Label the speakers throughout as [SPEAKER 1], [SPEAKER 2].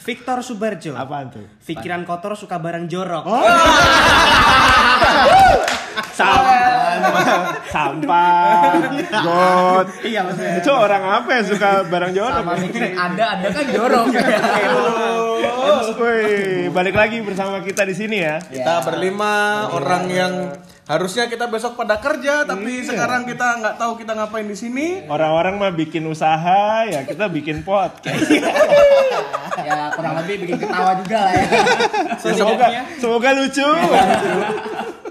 [SPEAKER 1] Victor Subarjo.
[SPEAKER 2] Apaan tuh?
[SPEAKER 1] Pikiran kotor suka barang jorok.
[SPEAKER 3] Oh,
[SPEAKER 2] Sampah. Sampah. God.
[SPEAKER 1] Iya maksudnya.
[SPEAKER 2] Itu orang apa yang suka barang jorok?
[SPEAKER 3] Sama mikirin ada, ada kan jorok.
[SPEAKER 1] Iya.
[SPEAKER 2] Woi, balik lagi bersama kita di sini ya. Iya.
[SPEAKER 4] Kita berlima orang yang harusnya kita besok pada kerja tapi
[SPEAKER 2] Iya.
[SPEAKER 4] sekarang kita nggak tahu kita ngapain di sini.
[SPEAKER 2] Orang-orang mah bikin usaha, ya kita bikin podcast.
[SPEAKER 3] ya kurang lebih bikin ketawa juga lah ya.
[SPEAKER 2] Ya, semoga
[SPEAKER 1] Iya.
[SPEAKER 2] semoga lucu.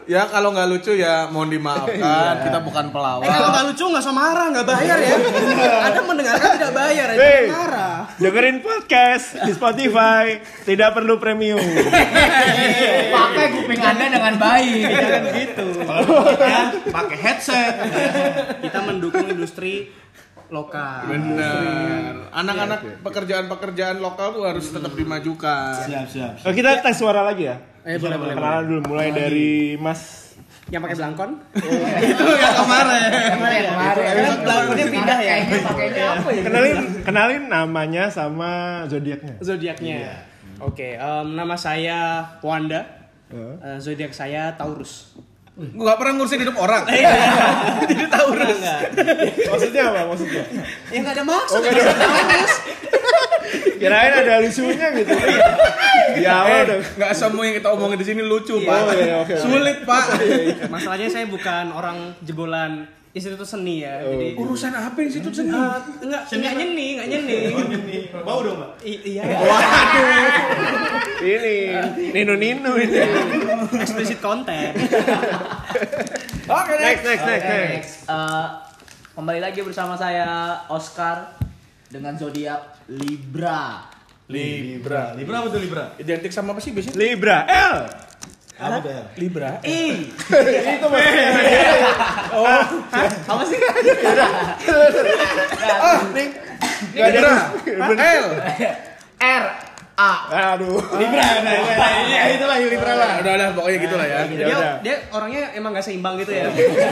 [SPEAKER 4] Ya kalau nggak lucu ya mohon
[SPEAKER 2] Iya.
[SPEAKER 4] dimaafkan. Kita bukan
[SPEAKER 1] Eh, kalau
[SPEAKER 4] pelawak.
[SPEAKER 1] nggak lucu nggak usah marah, nggak bayar ya. Anda mendengarkan tidak bayar ya.
[SPEAKER 2] Hey,
[SPEAKER 1] Jangan marah.
[SPEAKER 2] dengerin podcast di Spotify, tidak perlu premium.
[SPEAKER 3] Pakai kuping Anda dengan baik.
[SPEAKER 1] Jangan gitu. Kita pakai headset. Kita mendukung industri lokal.
[SPEAKER 2] Iya.
[SPEAKER 4] Bener. Anak-anak pekerjaan-pekerjaan lokal tuh harus tetap
[SPEAKER 2] Hmm.
[SPEAKER 4] dimajukan.
[SPEAKER 1] Siap, siap.
[SPEAKER 2] Oh, kita tes suara lagi ya.
[SPEAKER 1] Eh, boleh, boleh.
[SPEAKER 2] Kenalan dulu mulai dari Mas
[SPEAKER 1] Yang pakai belangkon?
[SPEAKER 4] Itu yang kemarin.
[SPEAKER 3] Oh. Kemarin kemarin.
[SPEAKER 1] Karena kan belangkonnya pindah ya.
[SPEAKER 3] Kayaknya pakainya apa ya?
[SPEAKER 2] kenalin kenalin namanya sama zodiaknya.
[SPEAKER 1] Zodiaknya.
[SPEAKER 3] Iya.
[SPEAKER 1] Oke, em, nama saya Wanda.
[SPEAKER 2] Eh.
[SPEAKER 1] Eh, zodiak saya Taurus.
[SPEAKER 4] Gua nggak pernah ngurusin hidup orang.
[SPEAKER 2] Iya.
[SPEAKER 1] Jadi Taurus. Enggak.
[SPEAKER 2] Maksudnya apa maksudnya?
[SPEAKER 1] Ya enggak ada maksud.
[SPEAKER 2] Kirain ada lucunya gitu. ya awal
[SPEAKER 4] Eh,
[SPEAKER 2] dong.
[SPEAKER 4] nggak semua yang kita omongin di sini lucu pak.
[SPEAKER 2] Oh, iya, oke, oke.
[SPEAKER 4] Sulit pak.
[SPEAKER 1] Masalahnya saya bukan orang jebolan Institut Seni ya. Jadi
[SPEAKER 4] Oh, gitu. Urusan apa yang situ seni?
[SPEAKER 1] Eh, enggak, enggak nyeni, enggak nyeni.
[SPEAKER 2] Oh, Bau dong, Pak.
[SPEAKER 1] I- iya.
[SPEAKER 2] Ini Nino Nino ini.
[SPEAKER 1] Explicit content.
[SPEAKER 4] Oke deh.
[SPEAKER 2] Next next next next.
[SPEAKER 3] Eh, kembali lagi bersama saya Oscar dengan zodiak Libra.
[SPEAKER 4] Libra. Libra apa tuh Libra? Identik sama apa sih biasanya?
[SPEAKER 2] Libra L.
[SPEAKER 4] Libra.
[SPEAKER 1] Ih,
[SPEAKER 2] Itu maksudnya. oh.
[SPEAKER 3] Apa sih?
[SPEAKER 2] Ah, nih. Gak ada.
[SPEAKER 4] Libra.
[SPEAKER 2] Bener.
[SPEAKER 4] L.
[SPEAKER 3] R A.
[SPEAKER 2] Aduh. Libra. Nah, iya itu lah Libra lah.
[SPEAKER 4] Udah udah pokoknya gitulah ya.
[SPEAKER 2] Ya
[SPEAKER 1] dia
[SPEAKER 2] udah.
[SPEAKER 1] dia orangnya emang gak seimbang gitu ya.
[SPEAKER 4] Iya.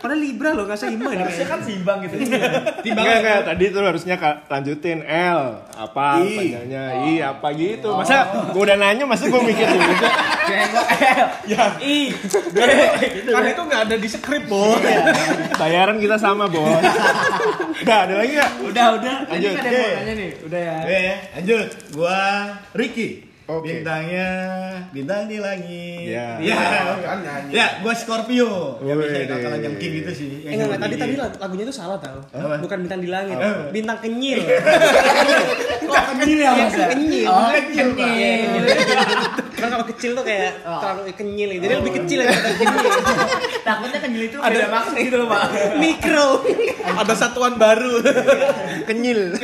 [SPEAKER 1] Padahal Libra loh gak seimbang ini kayaknya.
[SPEAKER 3] kan seimbang gitu.
[SPEAKER 2] Enggak, enggak. Tadi tuh harusnya ka- lanjutin L apa panjangnya I apa gitu. Masa gua udah nanya masa gua mikir dulu.
[SPEAKER 3] Jenggot L. I.
[SPEAKER 2] Iya, gitu.
[SPEAKER 4] Kan itu nggak ada di skrip, Bos.
[SPEAKER 2] Bayaran kita sama, Bos. Udah, ada lagi enggak?
[SPEAKER 3] Udah, udah.
[SPEAKER 2] Lanjut.
[SPEAKER 3] Ini ada yang mau nanya nih. Udah ya.
[SPEAKER 5] Oke, lanjut. Gua Ricky.
[SPEAKER 2] Oke.
[SPEAKER 5] Bintangnya bintang di langit.
[SPEAKER 2] Iya.
[SPEAKER 5] Ya. Ya, gua Scorpio. Ya bisa
[SPEAKER 2] Wih,
[SPEAKER 5] dikatakan
[SPEAKER 2] deh.
[SPEAKER 5] yang king gitu sih.
[SPEAKER 1] Eh, enggak, enggak, tadi tadi lag- lagunya tuh salah tau.
[SPEAKER 5] Apa?
[SPEAKER 1] Bukan bintang di langit,
[SPEAKER 5] Apa?
[SPEAKER 1] bintang kenyil.
[SPEAKER 3] Kok kenyil ya, Mas?
[SPEAKER 1] Iya, kenyil. Iya,
[SPEAKER 3] Oh, kenyil.
[SPEAKER 1] Kan kalau kecil tuh kayak
[SPEAKER 3] Oh.
[SPEAKER 1] terlalu kenyil, jadi lebih kecil ya bintang kenyil.
[SPEAKER 3] Takutnya kenyil itu ada maksud gitu loh, Pak.
[SPEAKER 1] Mikro.
[SPEAKER 4] Ada satuan baru.
[SPEAKER 2] Kenyil.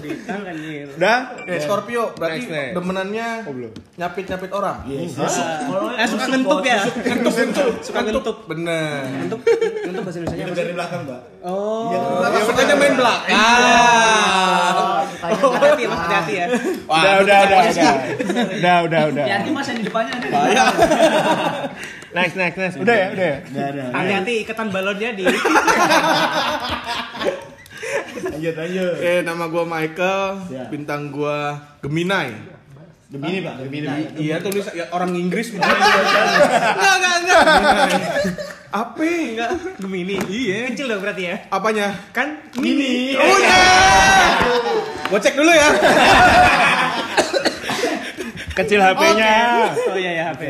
[SPEAKER 1] Bintang kenyil.
[SPEAKER 2] Udah?
[SPEAKER 4] Oke, Scorpio berarti
[SPEAKER 2] Iya. Next, next.
[SPEAKER 4] demenannya
[SPEAKER 2] Oh, belum.
[SPEAKER 4] nyapit-nyapit orang.
[SPEAKER 1] Eh, suka ngentup ya.
[SPEAKER 4] Ngentup,
[SPEAKER 1] Suka ngentup.
[SPEAKER 4] Iya, Bener.
[SPEAKER 1] Ngentup, ngentup bahasa Indonesia
[SPEAKER 5] Itu
[SPEAKER 1] apa
[SPEAKER 5] dari
[SPEAKER 1] sih?
[SPEAKER 5] belakang, Mbak.
[SPEAKER 1] Oh.
[SPEAKER 4] Nah, Maksudnya main belakang.
[SPEAKER 1] Hati-hati ya, mas hati-hati ya.
[SPEAKER 4] Wah,
[SPEAKER 2] Udah,
[SPEAKER 4] itu
[SPEAKER 2] udah,
[SPEAKER 4] kita
[SPEAKER 2] udah,
[SPEAKER 4] posisi.
[SPEAKER 2] udah. Udah, udah, udah.
[SPEAKER 1] Iya.
[SPEAKER 3] Hati-hati Mas yang di depannya ada.
[SPEAKER 2] Next, next, next. Udah ya, udah ya.
[SPEAKER 5] Enggak ada.
[SPEAKER 1] Hati-hati ikatan balonnya di
[SPEAKER 5] Lanjut, lanjut.
[SPEAKER 4] Oke, Eh, nama gua Michael,
[SPEAKER 5] Ya.
[SPEAKER 4] bintang gua Gemini.
[SPEAKER 5] Gemini, Pak. Gemini.
[SPEAKER 4] Iya tulis ya, orang Inggris mungkin. Enggak, enggak, enggak. iya. Apa? Enggak.
[SPEAKER 1] Gemini. Iya. Kecil dong berarti ya.
[SPEAKER 4] Apanya?
[SPEAKER 1] Kan
[SPEAKER 5] Gemini.
[SPEAKER 4] Oh iya. Gua cek dulu ya.
[SPEAKER 2] Kecil HP-nya.
[SPEAKER 1] Oh iya ya HP.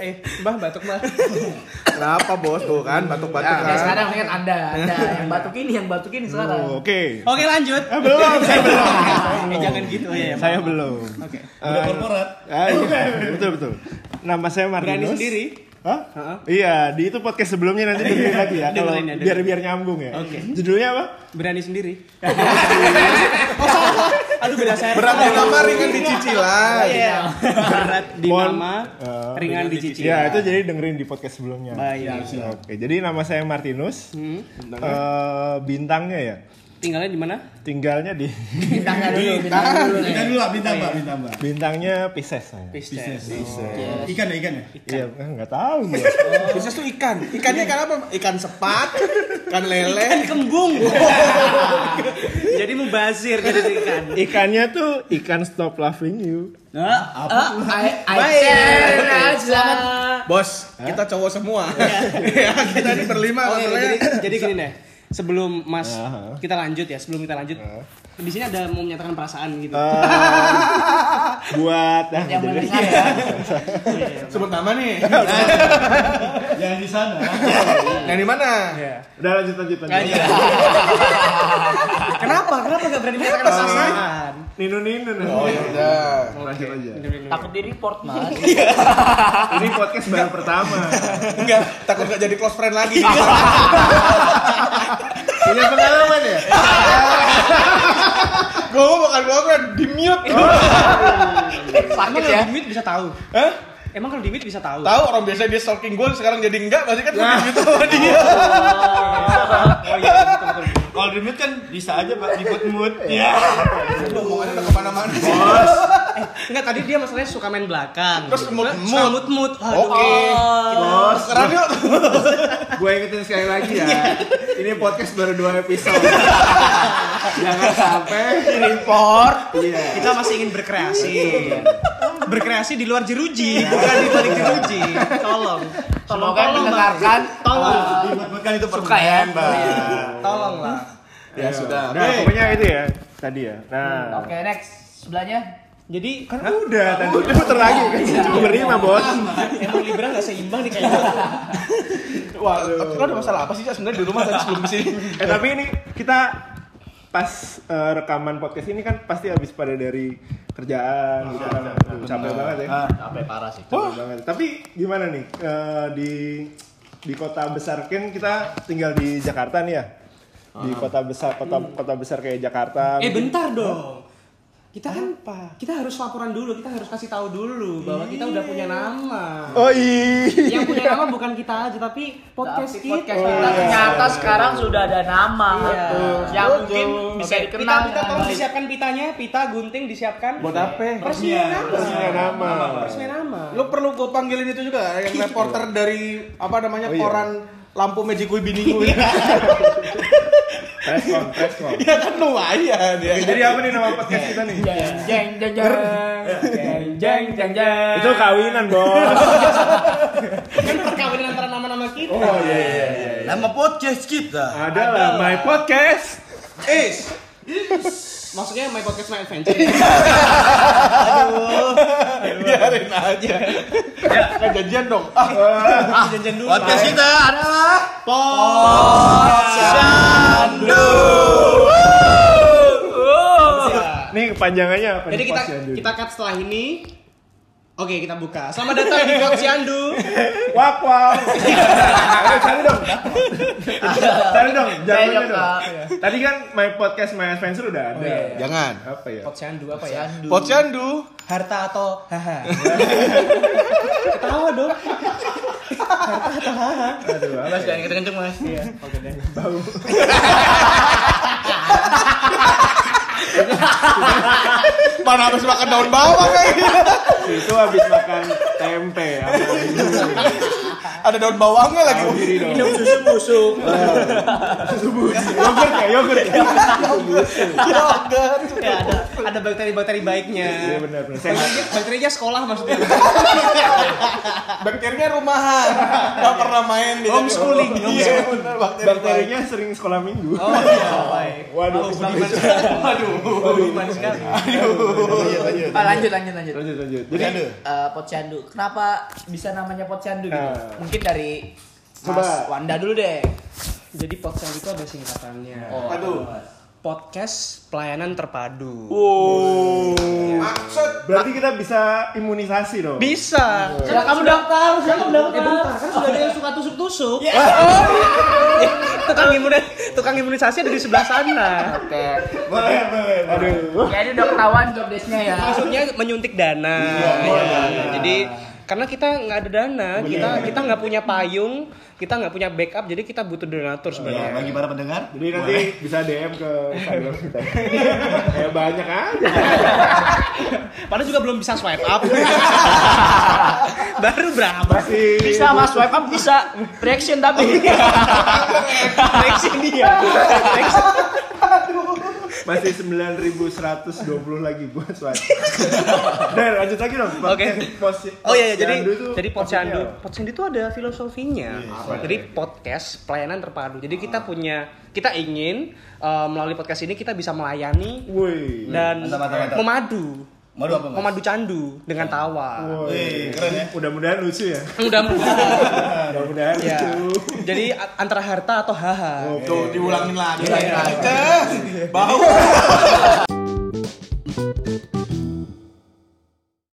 [SPEAKER 1] eh, Mbah batuk Mbah.
[SPEAKER 4] Kenapa bos tuh kan batuk-batuk
[SPEAKER 3] Ya,
[SPEAKER 4] kan?
[SPEAKER 3] sekarang lihat Anda, Anda yang batuk ini, yang batuk ini
[SPEAKER 2] Oh,
[SPEAKER 3] sekarang.
[SPEAKER 2] Oke.
[SPEAKER 1] Oke, lanjut.
[SPEAKER 2] Eh, belum, saya belum.
[SPEAKER 1] Eh, jangan gitu oh, iya, ya.
[SPEAKER 2] Saya belum.
[SPEAKER 1] Oke.
[SPEAKER 5] Udah
[SPEAKER 2] Eh,
[SPEAKER 5] korporat.
[SPEAKER 2] ah, iya, betul, betul. Nama saya Martinus.
[SPEAKER 1] Berani sendiri.
[SPEAKER 2] Hah?
[SPEAKER 1] Heeh.
[SPEAKER 2] Iya, di itu podcast sebelumnya nanti dengerin lagi ya. Kalau
[SPEAKER 1] Dengerin ya, dengerin.
[SPEAKER 2] biar biar nyambung ya.
[SPEAKER 1] Oke.
[SPEAKER 2] Judulnya apa?
[SPEAKER 1] Berani sendiri. oh, salah. Aduh beda saya.
[SPEAKER 4] Berat kan di kamar ringan di cicilan.
[SPEAKER 1] Iya. Berat di
[SPEAKER 2] Mon-
[SPEAKER 1] nama,
[SPEAKER 2] Eh,
[SPEAKER 1] ringan di cicil.
[SPEAKER 2] Iya, itu jadi dengerin di podcast sebelumnya. Iya,
[SPEAKER 1] Baik.
[SPEAKER 2] Oke, jadi nama saya Martinus. Eh, bintangnya ya.
[SPEAKER 1] Tinggalnya di mana?
[SPEAKER 2] Tinggalnya di
[SPEAKER 3] Bintangnya dulu, bintangnya dulu nih.
[SPEAKER 5] Bintang dulu lah, bintang mbak, bintang mbak.
[SPEAKER 2] bintangnya Pisces. saya.
[SPEAKER 1] Pisces.
[SPEAKER 5] Ikan ya, ikan ya.
[SPEAKER 2] Iya, nggak tahu gua.
[SPEAKER 4] Pisces tuh ikan. Ikannya ikan apa? Ikan sepat, ikan lele.
[SPEAKER 6] Kembung. Jadi mubazir
[SPEAKER 1] gitu,
[SPEAKER 6] jadi ikan.
[SPEAKER 2] Ikannya tuh ikan stop loving you.
[SPEAKER 3] Nah, apa?
[SPEAKER 1] ya?
[SPEAKER 3] selamat.
[SPEAKER 4] Bos, kita cowok semua. Ya, kita ini berlima
[SPEAKER 1] Oke,
[SPEAKER 4] levelnya.
[SPEAKER 1] jadi, Oh, iya, jadi gini deh. Sebelum Mas
[SPEAKER 2] Aha.
[SPEAKER 1] kita lanjut ya, sebelum kita lanjut. Di sini ada mau menyatakan perasaan gitu.
[SPEAKER 4] Ah.
[SPEAKER 2] Buat nah,
[SPEAKER 3] Yang
[SPEAKER 2] jadi-
[SPEAKER 3] mendengar ya.
[SPEAKER 4] Sebut nama nih.
[SPEAKER 5] Yang di sana.
[SPEAKER 4] Yang di mana?
[SPEAKER 2] Udah lanjut lanjut lanjut.
[SPEAKER 1] Kenapa? Kenapa gak berani
[SPEAKER 4] Ah.
[SPEAKER 1] menyatakan perasaan?
[SPEAKER 2] Nino Nino.
[SPEAKER 4] Oh, ya udah.
[SPEAKER 2] Lanjut aja.
[SPEAKER 3] Takut di report, Mas.
[SPEAKER 2] Ini podcast baru pertama.
[SPEAKER 4] Enggak, takut gak jadi close friend lagi.
[SPEAKER 2] Punya pengalaman ya?
[SPEAKER 4] Gue bukan close friend, di mute.
[SPEAKER 1] Emang
[SPEAKER 3] ya.
[SPEAKER 1] kalau di mute bisa tahu.
[SPEAKER 4] Hah?
[SPEAKER 1] Emang kalau di mute bisa tahu.
[SPEAKER 4] Tahu orang biasa dia stalking gue sekarang jadi enggak, pasti kan nah. gitu sama dia.
[SPEAKER 5] Kalau di mute kan bisa aja pak, ikut mood. Iya.
[SPEAKER 4] Omongannya udah kemana-mana sih.
[SPEAKER 1] Enggak tadi dia masalahnya suka main belakang.
[SPEAKER 4] Terus mut-mut.
[SPEAKER 1] Suka mut-mut. Aduh.
[SPEAKER 4] Oke. Bos, sekarang yuk.
[SPEAKER 2] Gue ingetin sekali lagi ya.
[SPEAKER 5] Iya.
[SPEAKER 2] Ini podcast baru dua episode. Jangan sampai
[SPEAKER 4] Report.
[SPEAKER 2] iya.
[SPEAKER 6] Kita masih ingin berkreasi. Berkreasi di luar jeruji, bukan di balik jeruji. Tolong. Tolong tolong,
[SPEAKER 3] Semoga
[SPEAKER 6] Bang.
[SPEAKER 3] didengarkan. Tolong.
[SPEAKER 5] Mood kan itu Iya,
[SPEAKER 3] Suka ya.
[SPEAKER 5] Mbak.
[SPEAKER 3] Tolong lah.
[SPEAKER 4] Ya sudah.
[SPEAKER 2] Nah, pokoknya itu ya tadi ya. Nah,
[SPEAKER 3] Oke, next. Sebelahnya
[SPEAKER 1] Jadi
[SPEAKER 2] kan udah tadi udah puter lagi kan cuma berlima bos.
[SPEAKER 1] emang Libra gak seimbang nih kayaknya.
[SPEAKER 4] Wah, lo ada masalah apa sih Cak sebenarnya di rumah tadi sebelum kesini?
[SPEAKER 2] Eh tapi ini kita pas eh, rekaman podcast ini kan pasti habis pada dari kerjaan gitu kan. Aduh, capek banget ya.
[SPEAKER 3] sampai parah sih.
[SPEAKER 2] Capek banget. Tapi gimana nih eh, di di kota besar kan kita tinggal di Jakarta nih ya. Di kota besar kota kota besar kayak Jakarta.
[SPEAKER 1] Eh bentar dong. Kita kan Kita harus laporan dulu, kita harus kasih tahu dulu bahwa kita udah punya nama.
[SPEAKER 2] Oh iya.
[SPEAKER 1] Yang punya nama bukan kita aja tapi podcast
[SPEAKER 3] Tapi
[SPEAKER 1] kita.
[SPEAKER 3] podcast kita
[SPEAKER 1] iya.
[SPEAKER 3] ternyata sekarang sudah ada nama yang mungkin bisa
[SPEAKER 1] Oke, pita,
[SPEAKER 3] dikenal.
[SPEAKER 1] pita tolong disiapkan pitanya, pita gunting disiapkan.
[SPEAKER 4] Buat apa?
[SPEAKER 1] Resmi nama.
[SPEAKER 2] Punya Iya, nama.
[SPEAKER 1] Resmi nama.
[SPEAKER 4] Lo perlu gue panggilin itu juga yang reporter dari apa
[SPEAKER 2] Oh,
[SPEAKER 4] namanya
[SPEAKER 2] iya.
[SPEAKER 4] koran lampu meja gue bini gue.
[SPEAKER 2] Preskon, preskon.
[SPEAKER 4] ya kan lumayan ya. Iya.
[SPEAKER 2] Jadi apa nih nama podcast kita nih?
[SPEAKER 3] Jeng jeng jeng jeng jeng jeng jeng.
[SPEAKER 2] Itu kawinan, Bos.
[SPEAKER 1] Kan perkawinan antara nama-nama kita.
[SPEAKER 2] Oh iya iya. iya.
[SPEAKER 4] Nama podcast kita.
[SPEAKER 2] Ada lah my podcast.
[SPEAKER 4] Is.
[SPEAKER 1] Maksudnya my podcast my adventure.
[SPEAKER 4] Biarin aja. ya, kan janjian dong. Ah,
[SPEAKER 6] Janjian dulu.
[SPEAKER 4] podcast kita adalah
[SPEAKER 2] Nih kepanjangannya apa?
[SPEAKER 1] Jadi
[SPEAKER 2] nih,
[SPEAKER 1] kita
[SPEAKER 2] Pak Siandu?
[SPEAKER 1] kita cut setelah ini. Oke, kita buka. Selamat datang di Vlog Siandu.
[SPEAKER 2] wak wak. Ayo, cari dong. cari dong, jawabannya
[SPEAKER 3] Cari dong,
[SPEAKER 2] dong.
[SPEAKER 3] Kak.
[SPEAKER 2] Tadi kan my podcast my adventure udah ada.
[SPEAKER 4] Jangan.
[SPEAKER 2] Apa ya?
[SPEAKER 1] Vlog Siandu apa ya?
[SPEAKER 4] Pocandu.
[SPEAKER 1] Harta atau haha. Ketawa dong.
[SPEAKER 2] Aduh, apa ya?
[SPEAKER 3] Jangan kenceng mas.
[SPEAKER 4] Mana harus makan daun bawang eh? kayak
[SPEAKER 2] Itu habis makan tempe apa ini?
[SPEAKER 4] Ada daun bawangnya lagi.
[SPEAKER 2] Tahu diri dong.
[SPEAKER 1] Susu busuk.
[SPEAKER 2] Yogurt ya, yogurt ya.
[SPEAKER 1] Ya, ada ada bakteri-bakteri
[SPEAKER 2] Iya
[SPEAKER 1] baiknya.
[SPEAKER 2] benar benar. Sehat.
[SPEAKER 1] Bakterinya, bakterinya sekolah maksudnya.
[SPEAKER 4] Bakterinya rumahan. Gak pernah main dia.
[SPEAKER 2] Homeschooling,
[SPEAKER 4] Iya, bener bakteri.
[SPEAKER 2] Bakterinya Oh. sering sekolah minggu. Waduh,
[SPEAKER 1] Budiman sekali.
[SPEAKER 5] iya,
[SPEAKER 3] Ah, lanjut lanjut lanjut.
[SPEAKER 2] lanjut lanjut. Jadi
[SPEAKER 3] Eh, Posyandu. Kenapa bisa namanya Posyandu gitu?
[SPEAKER 1] Ah.
[SPEAKER 2] Nah.
[SPEAKER 3] Mungkin dari
[SPEAKER 2] Coba.
[SPEAKER 3] Mas Wanda dulu deh.
[SPEAKER 1] Jadi podcast itu ada singkatannya.
[SPEAKER 3] Oh, aduh.
[SPEAKER 1] Podcast pelayanan terpadu.
[SPEAKER 4] Maksud
[SPEAKER 2] berarti kita bisa imunisasi dong.
[SPEAKER 1] Bisa.
[SPEAKER 3] Sudah kamu daftar, sudah kamu
[SPEAKER 1] Eh
[SPEAKER 3] daftar. Ya,
[SPEAKER 1] bentar, kan sudah ada yang suka tusuk-tusuk. tukang imunis tukang imunisasi ada di sebelah sana.
[SPEAKER 3] Oke.
[SPEAKER 2] Boleh, boleh. Aduh.
[SPEAKER 3] Jadi udah ketahuan job desk-nya ya.
[SPEAKER 1] Maksudnya menyuntik dana. Ya, Iya. Jadi karena kita nggak ada dana kita kita nggak punya payung kita nggak punya backup jadi kita butuh donatur
[SPEAKER 5] Ya,
[SPEAKER 1] sebenarnya
[SPEAKER 5] bagi para pendengar,
[SPEAKER 2] Jadi nanti bisa DM ke Instagram kita. ya banyak aja.
[SPEAKER 1] padahal juga belum bisa swipe up baru berapa
[SPEAKER 2] Masih
[SPEAKER 3] Bisa mas swipe up bisa reaction tapi
[SPEAKER 1] reaksi dia
[SPEAKER 2] masih 9120 lagi buat swipe. Dan lanjut lagi dong.
[SPEAKER 1] Oke.
[SPEAKER 2] Posi-
[SPEAKER 1] Oh iya, iya, jadi
[SPEAKER 2] Posyandu tuh
[SPEAKER 1] jadi
[SPEAKER 2] maksudnya
[SPEAKER 1] Posyandu,
[SPEAKER 2] apa? ya?
[SPEAKER 1] Posyandu itu ada filosofinya.
[SPEAKER 5] Iya,
[SPEAKER 1] Ah, jadi podcast pelayanan terpadu. Jadi kita punya kita ingin eh, melalui podcast ini kita bisa melayani
[SPEAKER 2] Woi.
[SPEAKER 1] dan
[SPEAKER 5] Hmm. Mantap, mantap, mantap.
[SPEAKER 1] memadu.
[SPEAKER 5] Madu apa, Mas?
[SPEAKER 1] Memadu candu dengan tawa.
[SPEAKER 2] Woi.
[SPEAKER 5] Wih, keren ya.
[SPEAKER 2] Mudah-mudahan lucu ya.
[SPEAKER 1] Udah
[SPEAKER 2] Mudah-mudahan
[SPEAKER 1] ya.
[SPEAKER 2] lucu.
[SPEAKER 1] Jadi a- antara harta atau haha.
[SPEAKER 4] Tuh diulangin lagi. Bau.